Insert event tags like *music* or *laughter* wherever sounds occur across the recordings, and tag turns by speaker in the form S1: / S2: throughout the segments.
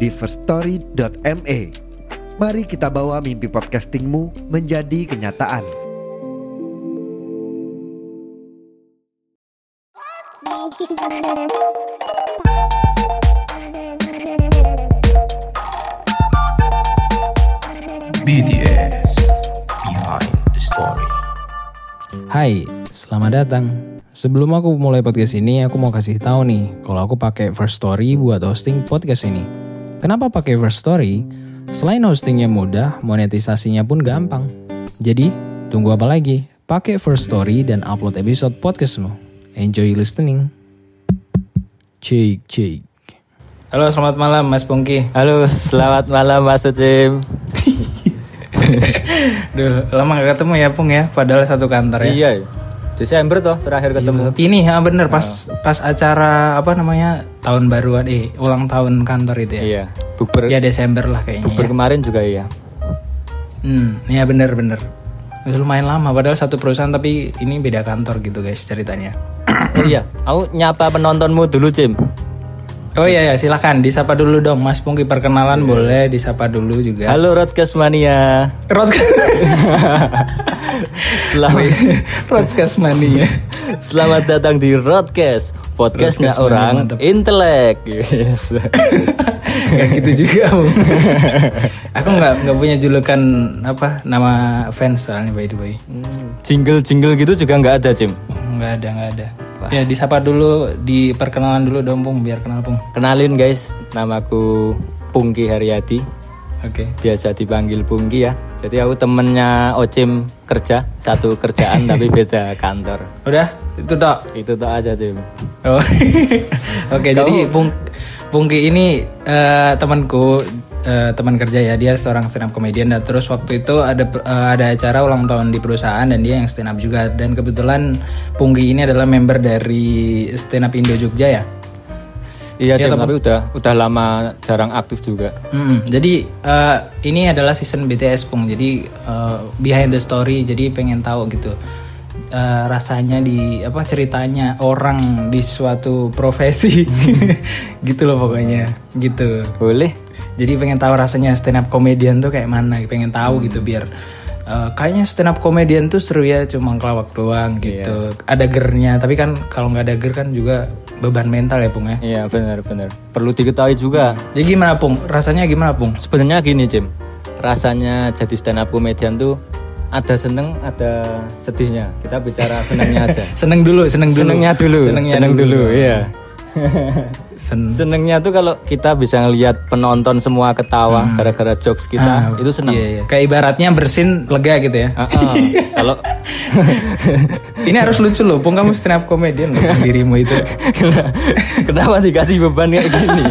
S1: di firststory.me. Mari kita bawa mimpi podcastingmu menjadi kenyataan.
S2: BDS Behind the Story.
S3: Hai, selamat datang. Sebelum aku mulai podcast ini, aku mau kasih tahu nih kalau aku pakai First Story buat hosting podcast ini. Kenapa pakai First Story? Selain hostingnya mudah, monetisasinya pun gampang. Jadi, tunggu apa lagi? Pakai First Story dan upload episode podcastmu. Enjoy listening. Cek, cek. Halo, selamat malam Mas Pongki.
S4: Halo, selamat malam Mas Ucim.
S3: Duh, lama gak ketemu ya Pung ya, padahal satu kantor ya.
S4: Iya, Desember toh terakhir ketemu.
S3: Ini ya bener pas pas acara apa namanya tahun baruan eh ulang tahun kantor itu ya.
S4: Iya, buber
S3: Ya Desember lah kayaknya.
S4: buber
S3: ya.
S4: kemarin juga iya.
S3: Hmm, ya bener bener. Lumayan lama padahal satu perusahaan tapi ini beda kantor gitu guys ceritanya.
S4: *clears throat* Oh iya, aku nyapa penontonmu dulu, Cim.
S3: Oh iya ya silakan disapa dulu dong Mas Pungki perkenalan boleh disapa dulu
S4: *laughs*
S3: juga.
S4: Halo Rodcast Mania.
S3: Rod
S4: *laughs* Selamat
S3: Rodcast *laughs* Mania.
S4: selamat datang di Rodcast, podcastnya
S3: Rodcast Mania,
S4: orang
S3: mantap.
S4: intelek. Yes.
S3: Gak gitu juga. Bung. Aku nggak nggak punya julukan apa nama fans soalnya by the way.
S4: *laughs* Jingle-jingle gitu juga nggak ada, Cim.
S3: Nggak ada, nggak ada. Ya disapa dulu, diperkenalan dulu dong Pung, biar kenal Pung.
S4: Kenalin guys, namaku Pungki Haryadi.
S3: Oke.
S4: biasa dipanggil Pungki ya. Jadi aku temennya Ocim kerja, satu kerjaan
S3: *laughs*
S4: tapi beda kantor.
S3: Udah, itu dok.
S4: Itu tuh aja Cim.
S3: Oh. *laughs* Oke, jadi Pung Pungki ini eh, temanku eh, teman kerja ya dia seorang stand up comedian dan terus waktu itu ada eh, ada acara ulang tahun di perusahaan dan dia yang stand up juga dan kebetulan Pungki ini adalah member dari stand up Indo Jogja ya.
S4: Iya Cim, tapi udah udah lama jarang aktif juga.
S3: Hmm, jadi eh, ini adalah season BTS Pung. Jadi eh, behind the story. Jadi pengen tahu gitu eh, rasanya di apa ceritanya orang di suatu profesi *laughs* gitu loh pokoknya gitu.
S4: Boleh?
S3: Jadi pengen tahu rasanya stand up comedian tuh kayak mana. Pengen tahu gitu biar eh, kayaknya stand up comedian tuh seru ya cuma ngelawak doang gitu. Ada gernya. Tapi kan kalau nggak ada ger kan juga beban mental ya Pung ya.
S4: Iya benar benar. Perlu diketahui juga.
S3: Jadi gimana Pung? Rasanya gimana Pung?
S4: Sebenarnya gini Cim, rasanya jadi stand up comedian tuh ada seneng, ada sedihnya. Kita
S3: *laughs*
S4: bicara senengnya aja.
S3: Seneng dulu, seneng dulu.
S4: Senengnya dulu,
S3: Senengnya
S4: seneng
S3: dulu. Hmm.
S4: dulu, iya.
S3: Sen-
S4: Senengnya tuh kalau kita bisa ngelihat penonton semua ketawa gara-gara jokes kita, itu seneng.
S3: Hmm. Iya, iya. Kayak ibaratnya bersin lega gitu ya. *laughs*
S4: Ah, ah. Kalau
S3: Ini harus lucu loh, Pung kamu stand up comedian loh, dirimu
S4: *laughs*
S3: itu.
S4: kenapa dikasih beban kayak gini?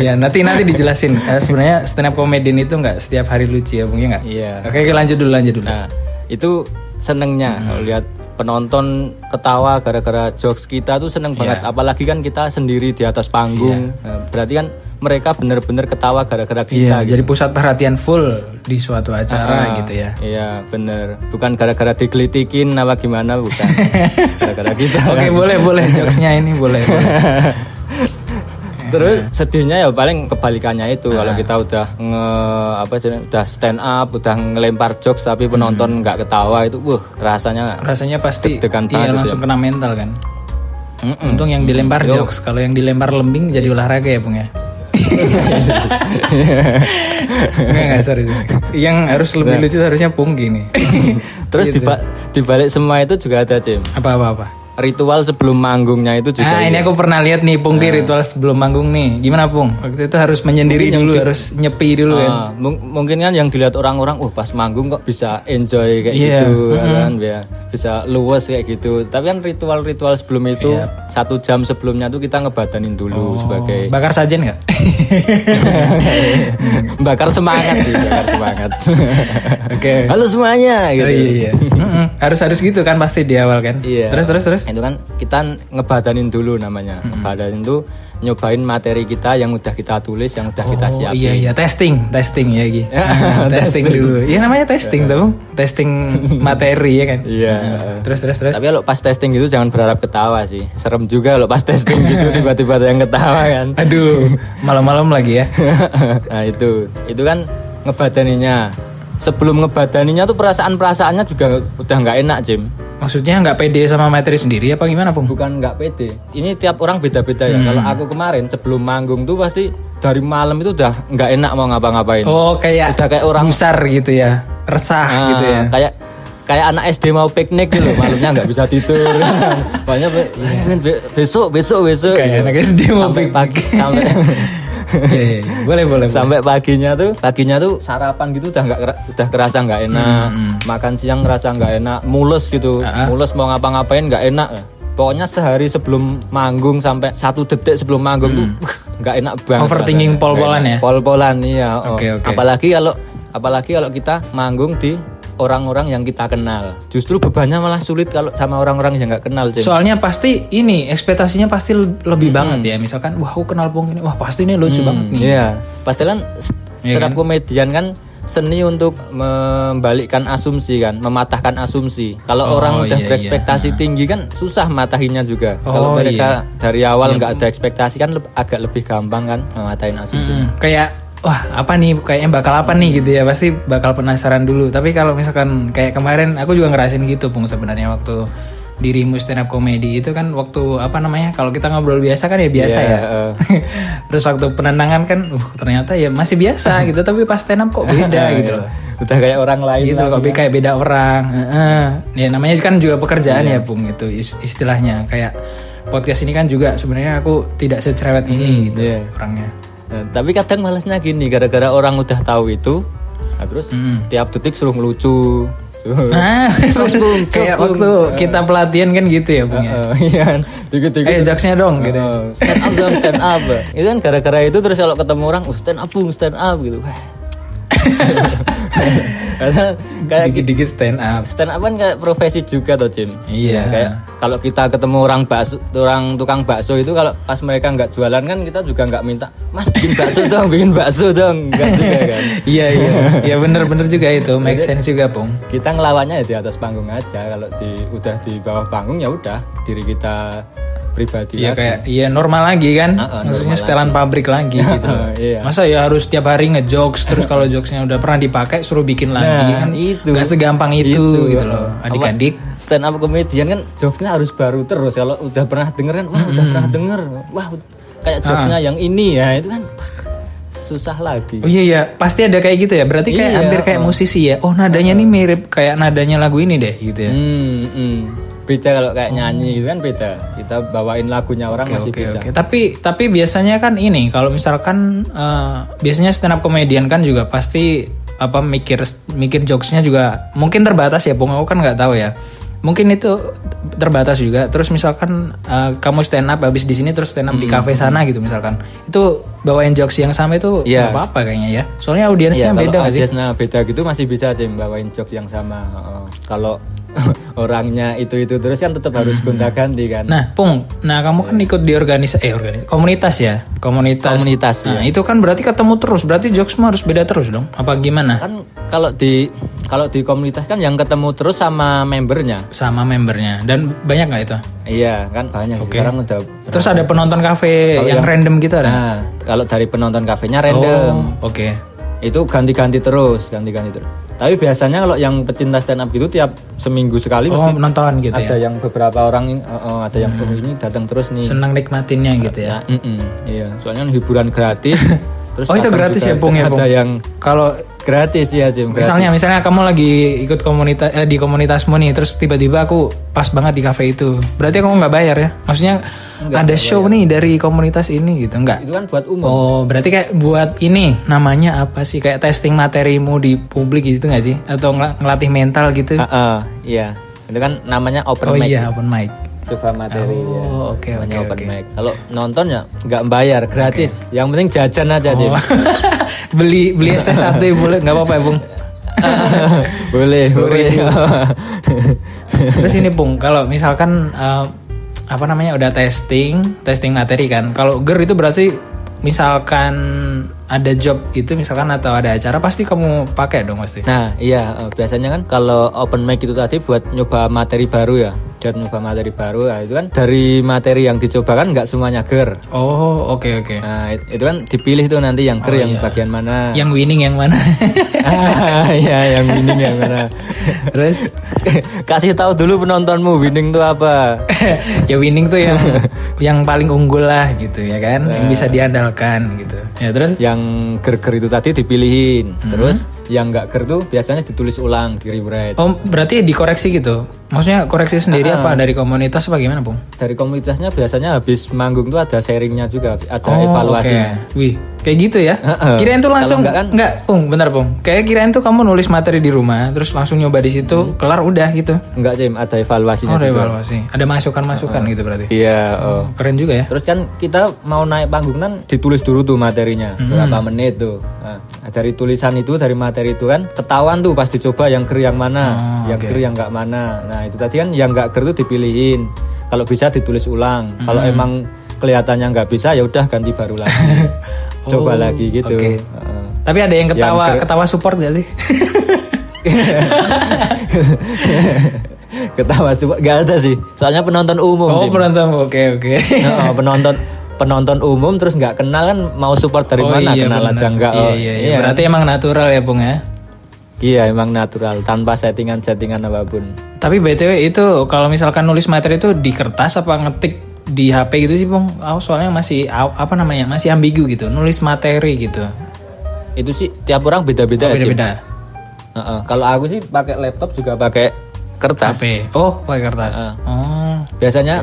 S3: ya nanti nanti dijelasin. Eh, sebenarnya stand up comedian itu nggak setiap hari lucu ya, Pung ya nggak?
S4: *laughs* Iya.
S3: Oke, oke, lanjut dulu, lanjut dulu.
S4: Nah, itu senengnya kalau lihat penonton ketawa gara-gara jokes kita tuh seneng banget. Apalagi kan kita sendiri di atas panggung. Nah, Berarti kan mereka bener-bener ketawa gara-gara
S3: Iya,
S4: kita. gitu.
S3: jadi pusat perhatian full di suatu acara
S4: Ah,
S3: gitu ya.
S4: Iya, bener. Bukan gara-gara dikelitikin apa gimana, *laughs* bukan. gara-gara kita.
S3: Oke,
S4: kan.
S3: boleh, boleh jokesnya ini boleh.
S4: *laughs*
S3: boleh.
S4: Terus sedihnya ya paling kebalikannya itu kalau
S3: Nah.
S4: kita udah nge apa sih udah stand up, udah ngelempar jokes tapi
S3: Hmm.
S4: penonton nggak ketawa itu wuh rasanya
S3: Rasanya pasti iya,
S4: Deg-degan banget itu ya.
S3: langsung Iya kena mental kan.
S4: Mm-mm.
S3: Untung yang dilempar jokes, kalau yang dilempar lembing jadi olahraga ya, Bung ya.
S4: *laughs*
S3: Enggak, enggak, sorry. sorry. Yang harus lebih
S4: Nah.
S3: lucu harusnya Punggi nih.
S4: Terus diba- dibalik semua itu juga ada Cim.
S3: Apa-apa apa.
S4: ritual sebelum manggungnya itu juga
S3: Ah,
S5: Nah, ini aku pernah lihat nih Pung di ritual sebelum manggung nih. Gimana Pung? Waktu itu harus menyendiri dulu, harus nyepi dulu
S3: ya.
S5: kan.
S4: Ah, mung- mungkin kan yang dilihat orang-orang, wah pas manggung kok bisa
S3: Iya.
S4: enjoy kayak gitu, ya kan, ya. bisa luwes kayak gitu. Tapi kan ritual-ritual sebelum itu
S3: Iya.
S4: satu jam sebelumnya tuh kita
S3: Oh.
S4: ngebadanin dulu sebagai
S5: Bakar sajen
S4: *laughs*
S5: nggak?
S4: bakar semangat sih, bakar semangat.
S5: Oke.
S4: Halo semuanya, gitu.
S5: Oh, iya, iya. Mm-mm. harus harus gitu kan pasti di awal kan.
S4: Iya.
S5: Terus terus terus.
S4: Itu kan kita ngebadanin dulu namanya. Ngebadanin tuh nyobain materi kita yang udah kita tulis, yang udah kita
S5: Oh,
S4: siapin.
S5: iya iya testing testing ya Gi.
S4: Ya,
S5: Ah, *laughs* testing dulu. Iya namanya testing tuh.
S4: *laughs*
S5: Testing materi ya kan.
S4: Iya.
S5: Terus terus terus.
S4: Tapi kalau pas testing gitu jangan berharap ketawa sih. Serem juga kalau pas testing
S5: *laughs*
S4: gitu tiba-tiba ada yang ketawa kan. *laughs*
S5: Aduh, malam-malam lagi ya.
S4: nah itu, itu kan ngebadaninya. Sebelum ngebadaninya tuh perasaan-perasaannya juga udah nggak enak, Jim.
S5: Maksudnya nggak pede sama materi sendiri apa gimana Pung?
S4: Bukan nggak pede. Ini tiap orang beda-beda ya. Kalau
S5: Hmm.
S4: aku kemarin sebelum manggung tuh pasti dari malam itu udah nggak enak mau ngapa-ngapain.
S5: Oh kayak
S4: Udah kayak orang-
S5: besar gitu ya, resah
S4: Ah,
S5: gitu ya.
S4: Kayak kayak anak SD mau piknik gitu, malamnya nggak bisa tidur.
S5: *laughs*
S4: Banyak be- be- besok, besok, besok.
S5: Kayak anak SD mau
S4: sampai
S5: piknik.
S4: pagi, sampai
S5: *laughs* Iya, iya, iya. boleh boleh.
S4: sampai paginya tuh, paginya tuh sarapan gitu udah nggak kera- udah kerasa nggak enak.
S5: Hmm,
S4: Makan siang ngerasa nggak enak, mules gitu,
S5: Ah.
S4: mules mau ngapa-ngapain nggak enak. Pokoknya sehari sebelum manggung sampai satu detik sebelum manggung tuh nggak enak banget.
S5: Hmm. Overthinking
S4: rasanya.
S5: pol-polan
S4: Nggak
S5: ya?
S4: enak. Pol-polan iya. oh.
S5: Oke, oke.
S4: Apalagi kalau apalagi kalau kita manggung di orang-orang yang kita kenal. Justru bebannya malah sulit kalau sama orang-orang yang nggak kenal, Jim.
S5: Soalnya pasti ini ekspektasinya pasti le- lebih banget ya. Misalkan wah aku kenal Pung ini, wah pasti ini lucu banget nih.
S4: Iya. Padahal kan s- stand up komedian kan seni untuk membalikkan asumsi kan, mematahkan asumsi. Kalau orang udah
S5: iya,
S4: berekspektasi tinggi kan susah matahinnya juga.
S5: Oh, Iya,
S4: Kalau mereka dari awal nggak ada ekspektasi kan leb- agak lebih gampang kan mengatahin asumsi.
S5: Hmm, kayak wah apa nih kayaknya bakal apa nih gitu ya pasti bakal penasaran dulu tapi kalau misalkan kayak kemarin aku juga ngerasin gitu pung sebenarnya waktu dirimu stand up comedy itu kan waktu apa namanya kalau kita ngobrol biasa kan ya biasa
S4: Iya,
S5: ya *laughs* terus waktu penenangan kan uh ternyata ya masih
S4: *laughs*
S5: biasa gitu tapi pas stand up kok beda
S4: Iya,
S5: gitu loh
S4: Nah, Udah kayak orang lain
S5: gitu loh,
S4: lagi.
S5: kok be- kayak beda orang Heeh. ya namanya kan juga pekerjaan ya pung itu is- istilahnya kayak podcast ini kan juga sebenarnya aku tidak secerewet ini gitu
S4: iya.
S5: orangnya
S4: Nah, tapi kadang malasnya gini gara-gara orang udah tahu itu, nah terus tiap detik suruh ngelucu.
S5: *laughs*
S4: Suruh-
S5: Ah,
S4: Jokes, Bung, jokes,
S5: kayak
S4: Bung.
S5: waktu kita pelatihan kan gitu ya, Bung. ya?
S4: Eh, *laughs* iya kan? Dikit-dikit
S5: Ayo jokesnya dong, gitu.
S4: Oh, stand up dong stand up itu kan gara-gara itu terus kalau ketemu orang oh, stand up bung stand up gitu
S5: *laughs*
S4: Wah. Karena kayak ki-
S5: Dikit-dikit stand up.
S4: stand up kan kayak profesi juga toh Jim
S5: Iya.
S4: Ya, kayak kalau kita ketemu orang bakso orang tukang bakso itu kalau pas mereka nggak jualan kan kita juga nggak minta mas bikin
S5: *laughs*
S4: bakso dong bikin bakso dong nggak juga kan
S5: Iya iya, iya bener-bener juga itu, make sense juga, Bung.
S4: kita ngelawannya ya di atas panggung aja kalau di udah di bawah panggung ya udah diri kita pribadi
S5: Iya
S4: lagi.
S5: kayak iya normal lagi kan,
S4: Ah, ah,
S5: maksudnya setelan pabrik lagi gitu.
S4: Ah, iya.
S5: Masa ya harus tiap hari ngejokes terus kalau jokesnya udah pernah dipakai suruh bikin lagi
S4: Nah,
S5: kan
S4: itu.
S5: nggak segampang itu, gitu loh, adik-adik.
S4: Apa, stand up comedian kan jokesnya harus baru terus kalau udah pernah denger kan wah udah pernah denger wah kayak jokesnya yang ini ya itu kan pah, susah lagi
S5: Oh iya iya, pasti ada kayak gitu ya. Berarti kayak
S4: Iya,
S5: hampir kayak musisi ya. Oh nadanya nih mirip kayak nadanya lagu ini deh gitu ya.
S4: Hmm, hmm. beda kalau kayak nyanyi gitu kan beda kita bawain lagunya orang masih
S5: Oke,
S4: bisa
S5: oke. Tapi tapi biasanya kan ini kalau misalkan eh, biasanya stand up comedian kan juga pasti apa mikir mikir jokesnya juga mungkin terbatas ya, Bung. Aku kan nggak tahu ya. Mungkin itu terbatas juga. Terus misalkan eh, kamu stand up habis di sini terus stand up di
S4: Hmm.
S5: kafe sana gitu misalkan. Itu bawain jokes yang sama itu nggak
S4: Iya.
S5: apa-apa kayaknya ya. Soalnya audiensnya
S4: Iya, kalau
S5: beda nggak sih?
S4: audiensnya beda gitu masih bisa Jim bawain jokes yang sama Heeh. kalau *laughs* orangnya itu itu terus kan tetap harus gonta ganti kan
S5: Nah, Pung, nah kamu
S4: Iya.
S5: kan ikut di organisasi eh organis- komunitas ya, komunitas.
S4: Komunitas, iya.
S5: Nah, itu kan berarti ketemu terus, berarti jokesmu harus beda terus dong. Apa gimana?
S4: kan kalau di kalau di komunitas kan yang ketemu terus sama membernya
S5: Sama membernya dan banyak nggak itu?
S4: Iya kan banyak sih. sekarang udah.
S5: Terus ada penonton kafe yang, random gitu ada?
S4: Nah kalau dari penonton kafenya random
S5: Oh, Oke.
S4: itu ganti-ganti terus, ganti-ganti terus. Tapi biasanya kalau yang pecinta stand up gitu tiap seminggu sekali
S5: Oh,
S4: mesti
S5: penonton gitu ya.
S4: ada yang beberapa orang ini, oh, oh, ada yang "Oh, ini datang terus nih.
S5: Senang nikmatinnya gitu ya.
S4: Nah, *laughs* mm-mm, iya. Soalnya kan hiburan gratis. terus
S5: Oh, itu
S4: kadang
S5: gratis
S4: juga
S5: ya, Pung, ya,
S4: Ada
S5: Pung?
S4: yang
S5: Kalau
S4: Gratis ya Sim. gratis.
S5: Misalnya, misalnya kamu lagi ikut komunitas eh, di komunitasmu nih, terus tiba-tiba aku pas banget di cafe itu. Berarti kamu nggak bayar ya? Maksudnya ada show nih dari komunitas ini gitu, nggak?
S4: itu kan buat umum.
S5: Oh, berarti kayak buat ini namanya apa sih? Kayak testing materimu di publik gitu nggak sih? Atau ngel- ngelatih mental gitu?
S4: Ah, ah, iya. Itu kan namanya
S5: oh
S4: open mic.
S5: iya, open mic.
S4: Coba materi ya.
S5: Oh, oke
S4: Namanya
S5: oke *laughs*
S4: open
S5: oke.
S4: mic. Kalau nonton ya nggak bayar, gratis. Yang penting jajan aja Sim.
S5: Beli beli *laughs* es teh satu ya, boleh nggak apa-apa ya, Bung.
S4: *laughs* boleh, boleh.
S5: Terus ini Bung, kalau misalkan eh, apa namanya udah testing, testing materi kan. Kalau ger itu berarti misalkan ada job gitu misalkan atau ada acara pasti kamu pakai dong pasti.
S4: Nah, iya eh, biasanya kan kalau open mic itu tadi buat nyoba materi baru ya. Buat nyoba materi baru, nah, itu kan dari materi yang dicoba kan nggak semuanya ger.
S5: Oh, oke oke.
S4: Nah, it- itu kan dipilih tuh nanti yang ger yang bagian mana.
S5: Yang winning yang mana?
S4: ah, *laughs* iya, yang winning yang mana.
S5: *laughs*
S4: *laughs*
S5: *laughs* Terus
S4: Kasih tahu dulu penontonmu winning tuh apa.
S5: ya winning tuh *laughs* yang yang paling unggul lah gitu ya kan, yang bisa diandalkan gitu. Ya terus
S4: Yang ger-ger itu tadi dipilihin. Terus yang nggak ger tuh biasanya ditulis ulang di rewrite.
S5: Oh, berarti dikoreksi gitu. Maksudnya koreksi sendiri apa dari komunitas apa gimana, Bung?
S4: Dari komunitasnya biasanya habis manggung tuh ada sharingnya juga, ada
S5: Oh,
S4: evaluasinya.
S5: Oke. Wih, kayak gitu ya.
S4: Heeh.
S5: Kirain tuh
S4: Kalau
S5: langsung
S4: enggak kan-
S5: enggak, Pung, bener Pung. Kayak kirain tuh kamu nulis materi di rumah, terus langsung nyoba di situ,
S4: Hmm.
S5: kelar udah gitu.
S4: Enggak, Jim, ada evaluasinya
S5: Oh, ada
S4: juga.
S5: evaluasi. Ada masukan-masukan gitu berarti.
S4: Iya, oh.
S5: Keren juga ya.
S4: Terus kan kita mau naik panggung kan ditulis dulu tuh materinya berapa menit tuh. Nah, dari tulisan itu dari materi itu kan ketahuan tuh pas dicoba yang ger yang mana, yang ger yang nggak mana. Nah itu tadi kan yang nggak ger tuh dipilihin. Kalau bisa ditulis ulang. Kalau emang kelihatannya nggak bisa ya udah ganti baru lagi. Coba lagi gitu. Heeh.
S5: Tapi ada yang ketawa ketawa support gak sih?
S4: *laughs* Ketawa semua nggak ada sih. Soalnya penonton umum.
S5: oh,
S4: Jim.
S5: *laughs*
S4: *laughs*
S5: berantem. Oke, oke.
S4: Heeh, penonton penonton umum terus nggak kenal kan mau support dari
S5: Oh,
S4: mana
S5: iya,
S4: kenal
S5: bener.
S4: aja nggak
S5: Iya,
S4: oh,
S5: iya, iya. Berarti emang natural ya, Bung ya.
S4: Iya, emang natural tanpa settingan settingan apapun
S5: Tapi BTW itu kalau misalkan nulis materi itu di kertas apa ngetik di HP gitu sih, Bung? Aku soalnya masih aw- apa namanya? Masih ambigu gitu. Nulis materi gitu.
S4: itu sih tiap orang beda
S5: Oh,
S4: beda
S5: Beda-beda.
S4: kalau aku sih pakai laptop juga pakai kertas Ah.
S5: HP. Oh, pakai kertas. Oh.
S4: biasanya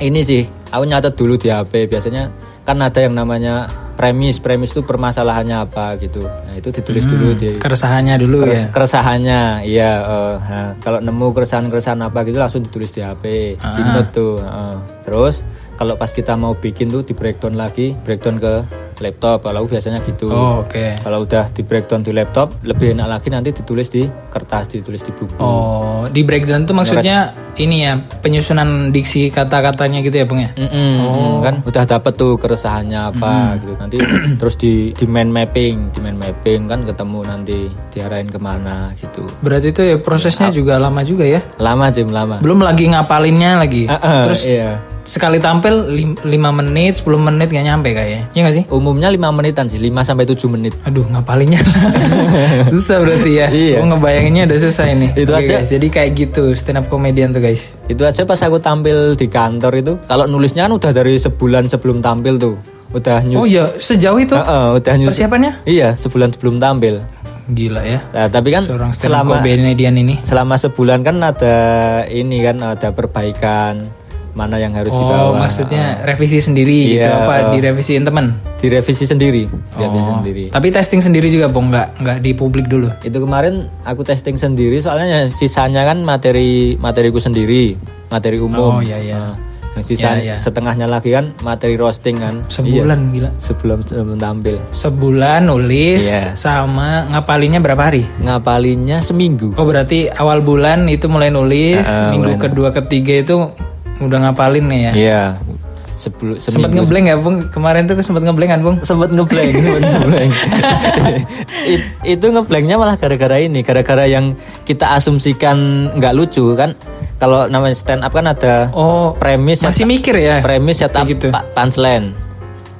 S4: ini sih aku nyatet dulu di HP biasanya kan ada yang namanya premis premis itu permasalahannya apa gitu nah itu ditulis dulu
S5: Hmm,
S4: di
S5: kan Keresahannya dulu
S4: keres-
S5: ya.
S4: keresahannya iya eh, nah, kalau nemu keresahan keresahan apa gitu langsung ditulis di HP
S5: Ah.
S4: di note tuh heeh. terus kalau pas kita mau bikin tuh di breakdown lagi breakdown ke laptop kalau aku biasanya gitu
S5: Oh, oke.
S4: kalau udah di breakdown di laptop lebih enak lagi nanti ditulis di kertas ditulis di buku
S5: Oh, di breakdown tuh maksudnya ini ya, penyusunan diksi kata-katanya gitu ya, Bung ya?
S4: Mm-mm, kan udah dapet tuh keresahannya apa gitu nanti terus di di mind mapping di mind mapping kan ketemu nanti diarahin kemana gitu
S5: Berarti itu ya prosesnya
S4: Ah.
S5: juga lama juga ya.
S4: lama jam lama
S5: Belum lagi ngapalinnya lagi.
S4: Heeh,
S5: Terus
S4: iya.
S5: sekali tampil 5 menit, 10 menit gak nyampe kayaknya. Iya gak sih?
S4: Umumnya 5 menitan sih, 5 sampai 7 menit.
S5: Aduh, ngapalinnya *laughs* susah berarti ya.
S4: Iya.
S5: Gua ngebayanginnya udah susah ini.
S4: Itu
S5: Oke,
S4: aja.
S5: guys. Jadi kayak gitu stand up comedian tuh, guys.
S4: Itu aja pas aku tampil di kantor itu, kalau nulisnya kan udah dari sebulan sebelum tampil tuh. Udah
S5: Oh
S4: nyus.
S5: iya, sejauh itu
S4: Heeh, udah nyus.
S5: persiapannya?
S4: Iya, sebulan sebelum tampil.
S5: Gila ya.
S4: Nah, tapi kan
S5: Seorang stand up
S4: selama
S5: comedian ini.
S4: selama sebulan kan ada ini kan ada perbaikan mana yang harus
S5: Oh,
S4: dibawa.
S5: maksudnya revisi sendiri gitu
S4: Iya,
S5: apa
S4: oh.
S5: direvisiin teman?
S4: Direvisi sendiri, direvisi
S5: Oh,
S4: sendiri.
S5: Tapi testing sendiri juga, Bung, nggak nggak di publik dulu.
S4: Itu kemarin aku testing sendiri soalnya yang sisanya kan materi materiku sendiri, materi
S5: Oh,
S4: umum.
S5: iya, iya.
S4: Nah, yang
S5: Iya,
S4: sisa
S5: iya.
S4: setengahnya lagi kan materi roasting kan.
S5: Sebulan
S4: Iya.
S5: gila.
S4: sebelum sebelum tampil.
S5: Sebulan nulis
S4: Iya.
S5: sama ngapalinnya berapa hari?
S4: Ngapalinnya seminggu.
S5: Oh, berarti awal bulan itu mulai
S4: Eh,
S5: nulis, minggu kedua ketiga itu udah ngapalin nih ya.
S4: Iya. Sebelum
S5: Sempat
S4: seminggu.
S5: ngeblank ya, Bung? Kemarin tuh sempat ngeblank kan, Bung?
S4: Sempet ngeblank, *laughs* sempet
S5: *laughs*
S4: ngeblank. It- itu ngeblanknya malah gara-gara ini, gara-gara yang kita asumsikan nggak lucu kan. Kalau namanya stand up kan ada
S5: Oh,
S4: premis set-
S5: masih mikir ya?
S4: premis setup
S5: Kayak gitu.
S4: pa- punchline.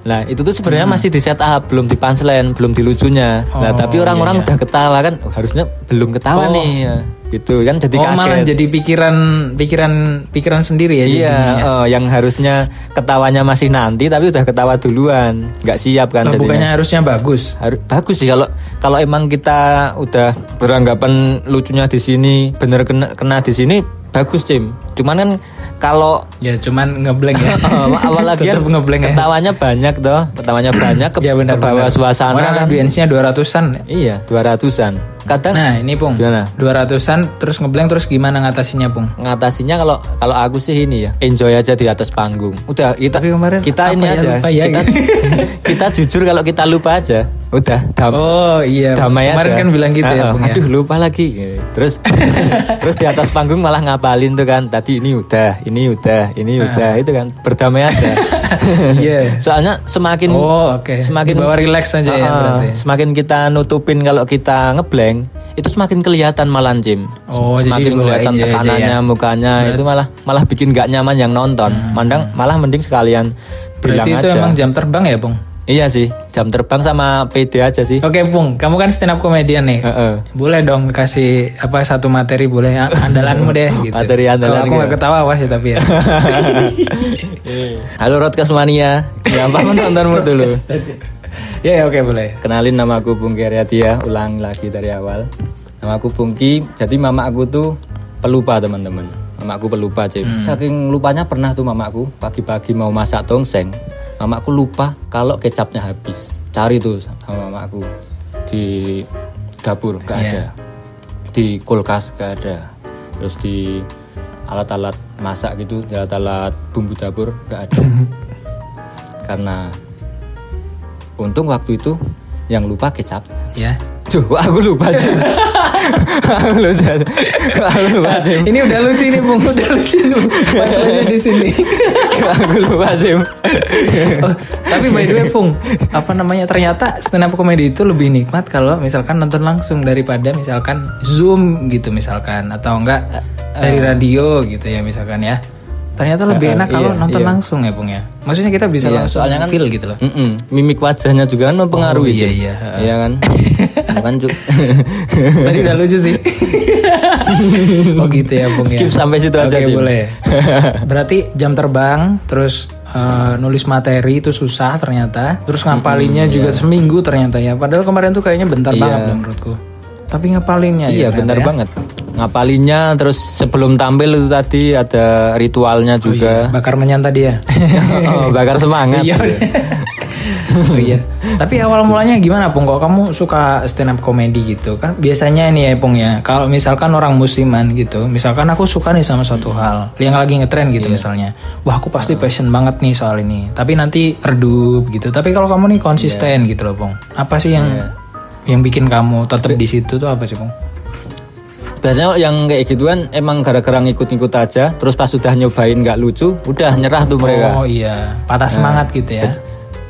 S4: Nah, itu tuh sebenarnya
S5: Hmm.
S4: masih di setup, belum di
S5: iya,
S4: punchline, belum di lucunya. nah, tapi orang-orang udah "Oh, ketawa kan, oh, harusnya belum ketawa nih. ya. gitu kan jadi
S5: oh
S4: kaget.
S5: malah jadi pikiran pikiran pikiran sendiri ya
S4: Iya,
S5: jadinya.
S4: eh, yang harusnya ketawanya masih nanti tapi udah ketawa duluan, nggak siap kan?
S5: Lah,
S4: jadinya.
S5: bukannya harusnya bagus
S4: Haru- bagus sih kalau kalau emang kita udah beranggapan lucunya di sini, bener kena kena di sini bagus cim. Cuman kan kalau
S5: ya cuman ngeblank
S4: *laughs*
S5: ya
S4: apalagi
S5: Tetep ngeblank ya
S4: kan. ketawanya banyak toh, ketawanya banyak ke,
S5: ya benar
S4: ke bawah suasana.
S5: orang
S4: kan.
S5: audiensnya 200-an ya
S4: Iya, 200-an. Kadang
S5: nah ini pung
S4: Gimana?
S5: 200-an terus ngeblank terus gimana ngatasinya pung
S4: ngatasinya kalau kalau aku sih ini ya enjoy aja di atas panggung udah kita
S5: Tapi kemarin
S4: kita
S5: apa
S4: ini
S5: ya,
S4: aja
S5: lupa ya,
S4: kita,
S5: gitu.
S4: *laughs* kita jujur kalau kita lupa aja udah dam-
S5: oh iya
S4: damai
S5: kemarin
S4: aja
S5: kan bilang gitu ya
S4: Ah,
S5: pung ya
S4: aduh lupa lagi
S5: *laughs*
S4: terus terus di atas panggung malah ngapalin tuh kan tadi ini udah ini udah ini udah itu kan berdamai aja
S5: *laughs* Iya.
S4: soalnya semakin
S5: Oh, oke.
S4: semakin
S5: Dibawa relax aja ya,
S4: Ah, ah,
S5: berarti ya.
S4: semakin kita nutupin kalau kita ngeblank itu semakin kelihatan malah Jim Sem-
S5: Oh, jadi
S4: semakin
S5: dibawain
S4: kelihatan
S5: aja ya.
S4: tekanannya mukanya itu malah malah bikin gak nyaman yang nonton mandang malah mending sekalian
S5: Hmm.
S4: bilang
S5: berarti itu
S4: aja
S5: emang jam terbang ya pung
S4: iya sih jam terbang sama PD aja sih
S5: Oke Pung, kamu kan stand up comedian nih.
S4: Heeh.
S5: Boleh dong kasih apa satu materi boleh ya, andalanmu
S4: *laughs*
S5: deh gitu.
S4: Materi andalan
S5: Kalau aku
S4: gitu.
S5: nggak ketawa awas ya
S4: *laughs*
S5: tapi ya.
S4: Halo Rodcast Mania, gampang menontonmu dulu.
S5: ya ya, oke boleh.
S4: Kenalin nama aku Bungki Aryadia, ulang lagi dari awal. Nama aku Bungki, jadi mama aku tuh pelupa teman-teman. Mama aku pelupa Cip. Saking lupanya pernah tuh mamaku pagi-pagi mau masak tongseng. Mamaku lupa kalau kecapnya habis. Cari tuh sama mamaku di dapur, gak ada. Di kulkas gak ada. Terus di alat-alat masak gitu, di alat-alat bumbu dapur gak ada. Karena Untung waktu itu yang lupa kecap.
S5: Ya.
S4: Duh, kok aku lupa Cim? aku lupa. Kok aku lupa Cim?
S5: Ini udah lucu ini Pung, udah lucu.
S4: *laughs*
S5: Masalahnya di sini.
S4: Kok aku lupa Cim?
S5: Oh, tapi by the way Pung, apa namanya ternyata stand up comedy itu lebih nikmat kalau misalkan nonton langsung daripada misalkan Zoom gitu misalkan atau enggak
S4: Eh,
S5: dari radio gitu ya misalkan ya. Ternyata lebih enak kalau nonton langsung ya Pung ya. Maksudnya kita bisa langsung
S4: iya, soalnya kan-
S5: feel gitu
S4: *laughs*
S5: loh.
S4: Mm-mm. Mimik wajahnya juga kan
S5: Oh,
S4: mempengaruhi
S5: iya,
S4: Cim.
S5: iya, ha.
S4: Iya kan? Bukan cu-
S5: Tadi udah lucu sih. *laughs* oh gitu ya, Bung ya.
S4: Skip sampai situ aja,
S5: Oke,
S4: Jim.
S5: boleh. *laughs* Berarti jam terbang terus eh, nulis materi itu susah ternyata. Terus ngapalinnya juga seminggu ternyata ya. Padahal kemarin tuh kayaknya bentar banget dong menurutku. Tapi ngapalinnya ya.
S4: Iya,
S5: ternyata
S4: benar
S5: ya.
S4: banget. Ngapalinnya terus sebelum tampil itu tadi ada ritualnya juga.
S5: Bakar menyan tadi ya.
S4: *laughs* Oh, bakar semangat.
S5: *laughs* Iya. Oh *laughs* iya. Tapi awal mulanya gimana Pung? Kok kamu suka stand up comedy gitu kan? Biasanya ini ya Pung ya. Kalau misalkan orang musiman gitu, misalkan aku suka nih sama suatu hal yang lagi ngetren gitu misalnya. Wah, aku pasti passion banget nih soal ini. Tapi nanti redup gitu. Tapi kalau kamu nih konsisten gitu loh Pung. Apa sih yang yang bikin kamu tetap di situ tuh apa sih Pung?
S4: Biasanya yang kayak gituan emang gara-gara ngikut-ngikut aja, terus pas sudah nyobain nggak lucu, udah nyerah tuh mereka.
S5: Oh iya, patah semangat gitu ya.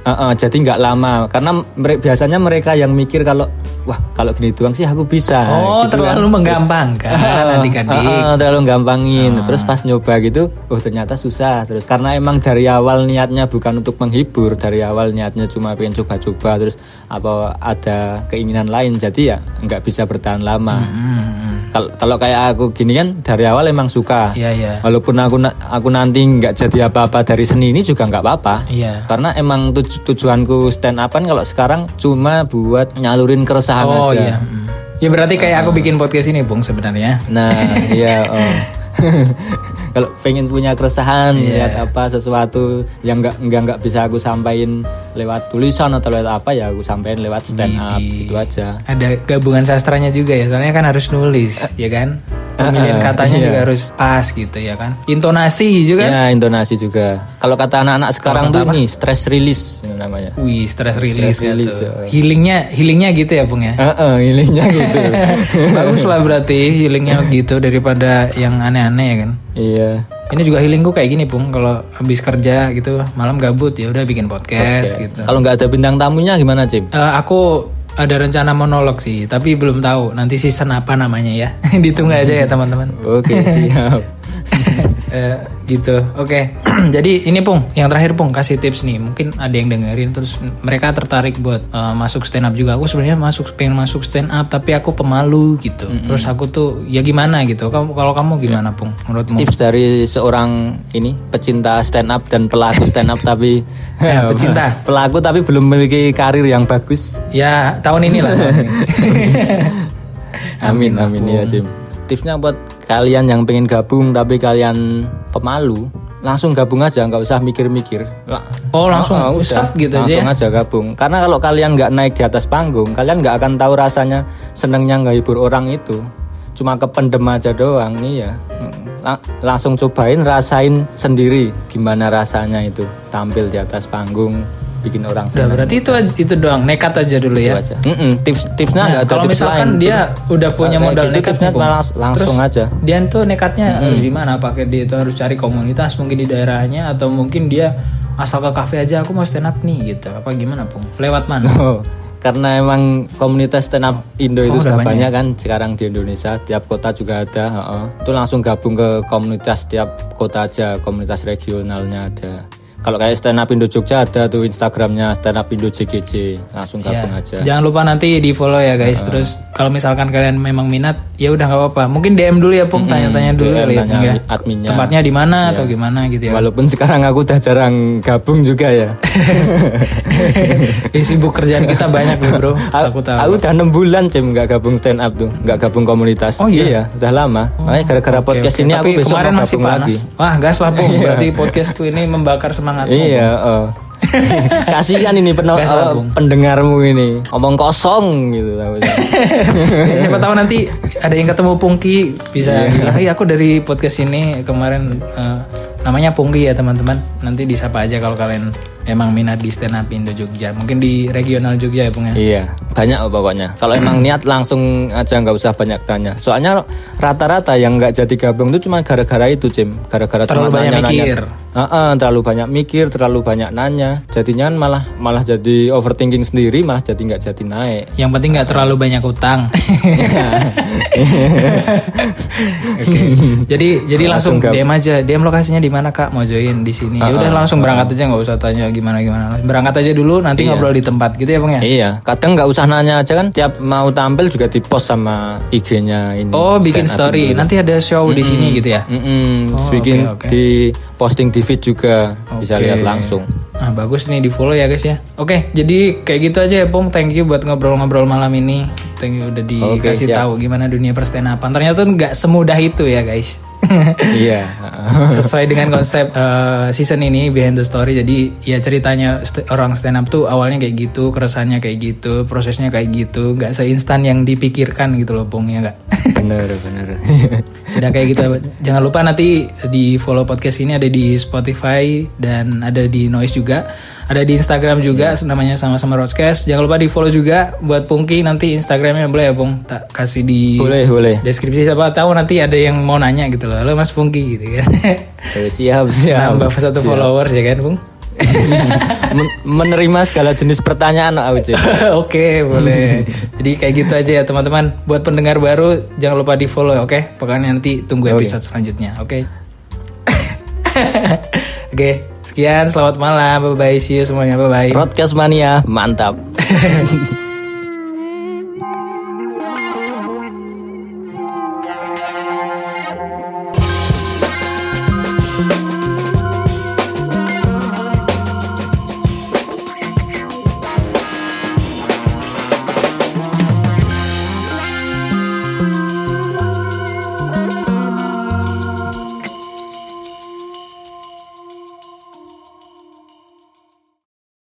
S4: Uh-uh, jadi nggak lama karena mere- biasanya mereka yang mikir kalau wah kalau gini doang sih aku bisa
S5: Oh,
S4: gitu kan.
S5: terlalu menggampangkan
S4: Uh-uh,
S5: adik-adik.
S4: uh-uh, terlalu gampangin
S5: Ah.
S4: terus pas nyoba gitu oh ternyata susah terus karena emang dari awal niatnya bukan untuk menghibur dari awal niatnya cuma pengen coba-coba terus apa ada keinginan lain jadi ya nggak bisa bertahan lama
S5: Hmm,
S4: Kal- kalau kayak aku gini kan dari awal emang suka
S5: Iya, iya.
S4: walaupun aku na- aku nanti nggak jadi apa-apa dari seni ini juga nggak apa-apa
S5: Iya.
S4: karena emang tuj- tujuanku stand up kan kalau sekarang cuma buat nyalurin keresahan
S5: Oh
S4: aja.
S5: iya. Hmm. Ya berarti kayak aku bikin podcast ini, Bung sebenarnya.
S4: Nah,
S5: *laughs*
S4: iya. oh. *laughs* kalau pengen punya keresahan
S5: Iya.
S4: lihat apa sesuatu yang nggak nggak nggak bisa aku sampaikan lewat tulisan atau lewat apa ya aku sampaikan lewat stand up
S5: Widih.
S4: gitu aja.
S5: Ada gabungan sastranya juga ya, soalnya kan harus nulis, ya kan? Pemilihan
S4: eh,
S5: katanya
S4: iya.
S5: juga harus pas gitu ya kan? Intonasi juga. kan?
S4: Ya intonasi juga. Kalau kata anak-anak sekarang tuh ini stress release namanya.
S5: Wih, stress release gitu.
S4: release, ya.
S5: Healingnya, healingnya gitu ya, Bung
S4: *laughs*
S5: ya.
S4: Heeh, ininya
S5: *laughs*
S4: gitu.
S5: Bagus lah berarti healingnya gitu daripada yang aneh-aneh ya kan.
S4: iya.
S5: Ini juga healingku kayak gini, Bung. Kalau habis kerja gitu, malam gabut ya udah bikin podcast, gitu.
S4: Kalau nggak ada bintang tamunya gimana, Jim?
S5: Eh, aku ada rencana monolog sih, tapi belum *laughs*
S4: *laughs*
S5: tahu nanti season apa namanya ya. Ditunggu aja ya teman-teman.
S4: Oke, siap.
S5: Eh, gitu. Oke. *clears throat* Jadi ini Pung, yang terakhir Pung kasih tips nih. Mungkin ada yang dengerin terus mereka tertarik buat eh, masuk stand up juga. Aku sebenarnya masuk pengen masuk stand up tapi aku pemalu gitu. Terus aku tuh ya gimana gitu. Kamu kalau kamu gimana Pung menurutmu?
S4: Ya. Tips dari seorang ini pecinta stand up dan pelaku stand
S5: *laughs*
S4: up tapi *laughs*
S5: Ya, pecinta.
S4: pelaku tapi belum memiliki karir yang bagus.
S5: Ya, tahun ini lah.
S4: *laughs*
S5: tahun ini.
S4: Amin amin, ya Jim. Tipsnya buat kalian yang pengen gabung tapi kalian pemalu, langsung gabung aja nggak usah mikir-mikir. La-
S5: Oh, langsung
S4: Oh, udah.
S5: set gitu aja.
S4: langsung
S5: ya?
S4: aja gabung. Karena kalau kalian nggak naik di atas panggung, kalian nggak akan tahu rasanya senengnya nggak hibur orang itu. Cuma kependem aja doang, iya. La- langsung cobain, rasain sendiri gimana rasanya itu tampil di atas panggung, bikin orang
S5: Udah,
S4: seneng.
S5: berarti itu aja- itu doang nekat aja dulu
S4: Itu
S5: ya.
S4: aja. Mm-mm, tips tipsnya
S5: Nah,
S4: nggak ada
S5: kalau
S4: tips
S5: misalkan
S4: lain.
S5: dia
S4: Cuma-
S5: udah punya
S4: Nah,
S5: modal
S4: gitu,
S5: nekat
S4: tipsnya
S5: nih, Bung.
S4: langs- langsung
S5: Terus,
S4: aja.
S5: Dia tuh nekatnya harus gimana? Apakah dia itu harus cari komunitas mungkin di daerahnya atau mungkin dia asal ke kafe aja aku mau stand up nih gitu. Apa gimana, Pung? Lewat mana?
S4: Oh, karena emang komunitas stand up
S5: Oh,
S4: Indo itu
S5: udah
S4: sudah
S5: banyak.
S4: banyak. kan sekarang di Indonesia tiap kota juga ada heeh. itu langsung gabung ke komunitas tiap kota aja komunitas regionalnya ada kalau kayak stand up Indo Jogja ada tuh Instagramnya stand up Indo JGJ
S5: *laughs*
S4: langsung
S5: Ya,
S4: gabung aja
S5: Jangan lupa nanti di follow ya guys. Terus kalau misalkan kalian memang minat, ya udah nggak apa-apa. Mungkin DM dulu ya Pung, tanya-tanya dulu
S4: DM,
S5: kali ya,
S4: tanya
S5: Pung, ya.
S4: adminnya. Iya.
S5: Tempatnya di mana atau gimana gitu ya.
S4: walaupun sekarang aku udah jarang gabung juga ya
S5: Ih, sibuk kerjaan kita banyak loh
S4: *laughs*
S5: bro.
S4: A-
S5: *laughs* Aku tahu.
S4: aku udah 6 bulan cem nggak gabung stand up tuh nggak gabung komunitas
S5: Oh, iya?
S4: udah lama makanya gara-gara
S5: Oke,
S4: podcast
S5: oke.
S4: ini
S5: Tapi
S4: aku besok
S5: kemarin
S4: mau
S5: masih
S4: gabung
S5: panas.
S4: lagi
S5: Wah, gas lah
S4: *laughs*
S5: Pung. Berarti podcastku ini membakar semangat.
S4: Iya, oh. *laughs* Kasihan ini peno-
S5: Gas
S4: apa,
S5: lambung.
S4: pendengarmu ini. Omong kosong gitu tahu.
S5: Siapa tahu nanti ada yang ketemu Pungki
S4: Iya.
S5: bisa bilang, "Hey, aku dari podcast ini kemarin eh, namanya Pungki ya, teman-teman. Nanti disapa aja kalau kalian emang minat di stand up Indo Jogja. Mungkin di regional Jogja ya, Pung ya.
S4: *laughs* iya, banyak pokoknya. Kalau emang niat langsung aja nggak usah banyak tanya. Soalnya rata-rata yang nggak jadi gabung itu cuma gara-gara itu, Jim. Gara-gara
S5: Terlalu
S4: cuma
S5: banyak
S4: nanya-nanya.
S5: mikir.
S4: Heeh, terlalu banyak mikir, terlalu banyak nanya. Jadinya kan malah malah jadi overthinking sendiri, malah jadi nggak jadi naik.
S5: Yang penting nggak terlalu banyak
S4: *laughs*
S5: utang. Oke. Jadi jadi langsung,
S4: Langsung
S5: DM
S4: Ah, gab-
S5: aja. DM lokasinya di mana Kak? Mau join di sini. Ya udah langsung berangkat aja nggak usah tanya gimana gimana. Berangkat aja dulu nanti ngobrol di tempat gitu ya, Bang ya.
S4: Iya, kadang nggak usah nanya aja kan. Tiap mau tampil juga di post sama IG-nya ini.
S5: Oh, bikin
S4: stand up
S5: story.
S4: Indo.
S5: Nanti ada show di sini gitu ya.
S4: Mm-mm,
S5: Oh,
S4: bikin
S5: oke, oke.
S4: di posting di feed juga bisa
S5: Oke.
S4: lihat
S5: *laughs*
S4: langsung.
S5: Nah, bagus nih di follow ya guys ya. Oke, jadi kayak gitu aja ya Pong. Thank you buat ngobrol-ngobrol malam ini. Thank you udah
S4: Oke,
S5: dikasih
S4: siap.
S5: tahu gimana dunia perstenapan. Ternyata nggak semudah itu ya guys. *laughs*
S4: Iya. *laughs*
S5: Sesuai dengan konsep eh, season ini behind the story. Jadi ya ceritanya st- orang stand up tuh awalnya kayak gitu, keresahannya kayak gitu, prosesnya kayak gitu. Nggak seinstan yang dipikirkan gitu loh Pong ya nggak. *laughs*
S4: bener bener.
S5: Udah kayak gitu. Jangan lupa nanti di follow podcast ini ada di Spotify dan ada di Noise juga. Ada di Instagram juga namanya sama-sama Roadcast. Jangan lupa di follow juga buat Pungki nanti Instagramnya boleh ya Pung tak kasih di
S4: *laughs* boleh boleh.
S5: deskripsi siapa tahu nanti ada yang mau nanya gitu loh. Halo Mas Pungki gitu kan. *laughs*
S4: Boleh, siap siap.
S5: Nambah satu
S4: Nah, Siap.
S5: followers ya kan Pung.
S4: Men- menerima segala jenis pertanyaan
S5: *laughs*
S4: Auji.
S5: *laughs* Oke boleh. Jadi kayak gitu aja ya teman-teman. Buat pendengar baru jangan lupa di follow oke. Pokoknya nanti tunggu episode selanjutnya oke. *laughs* oke sekian selamat malam bye bye see you semuanya bye bye.
S4: Broadcast mania mantap.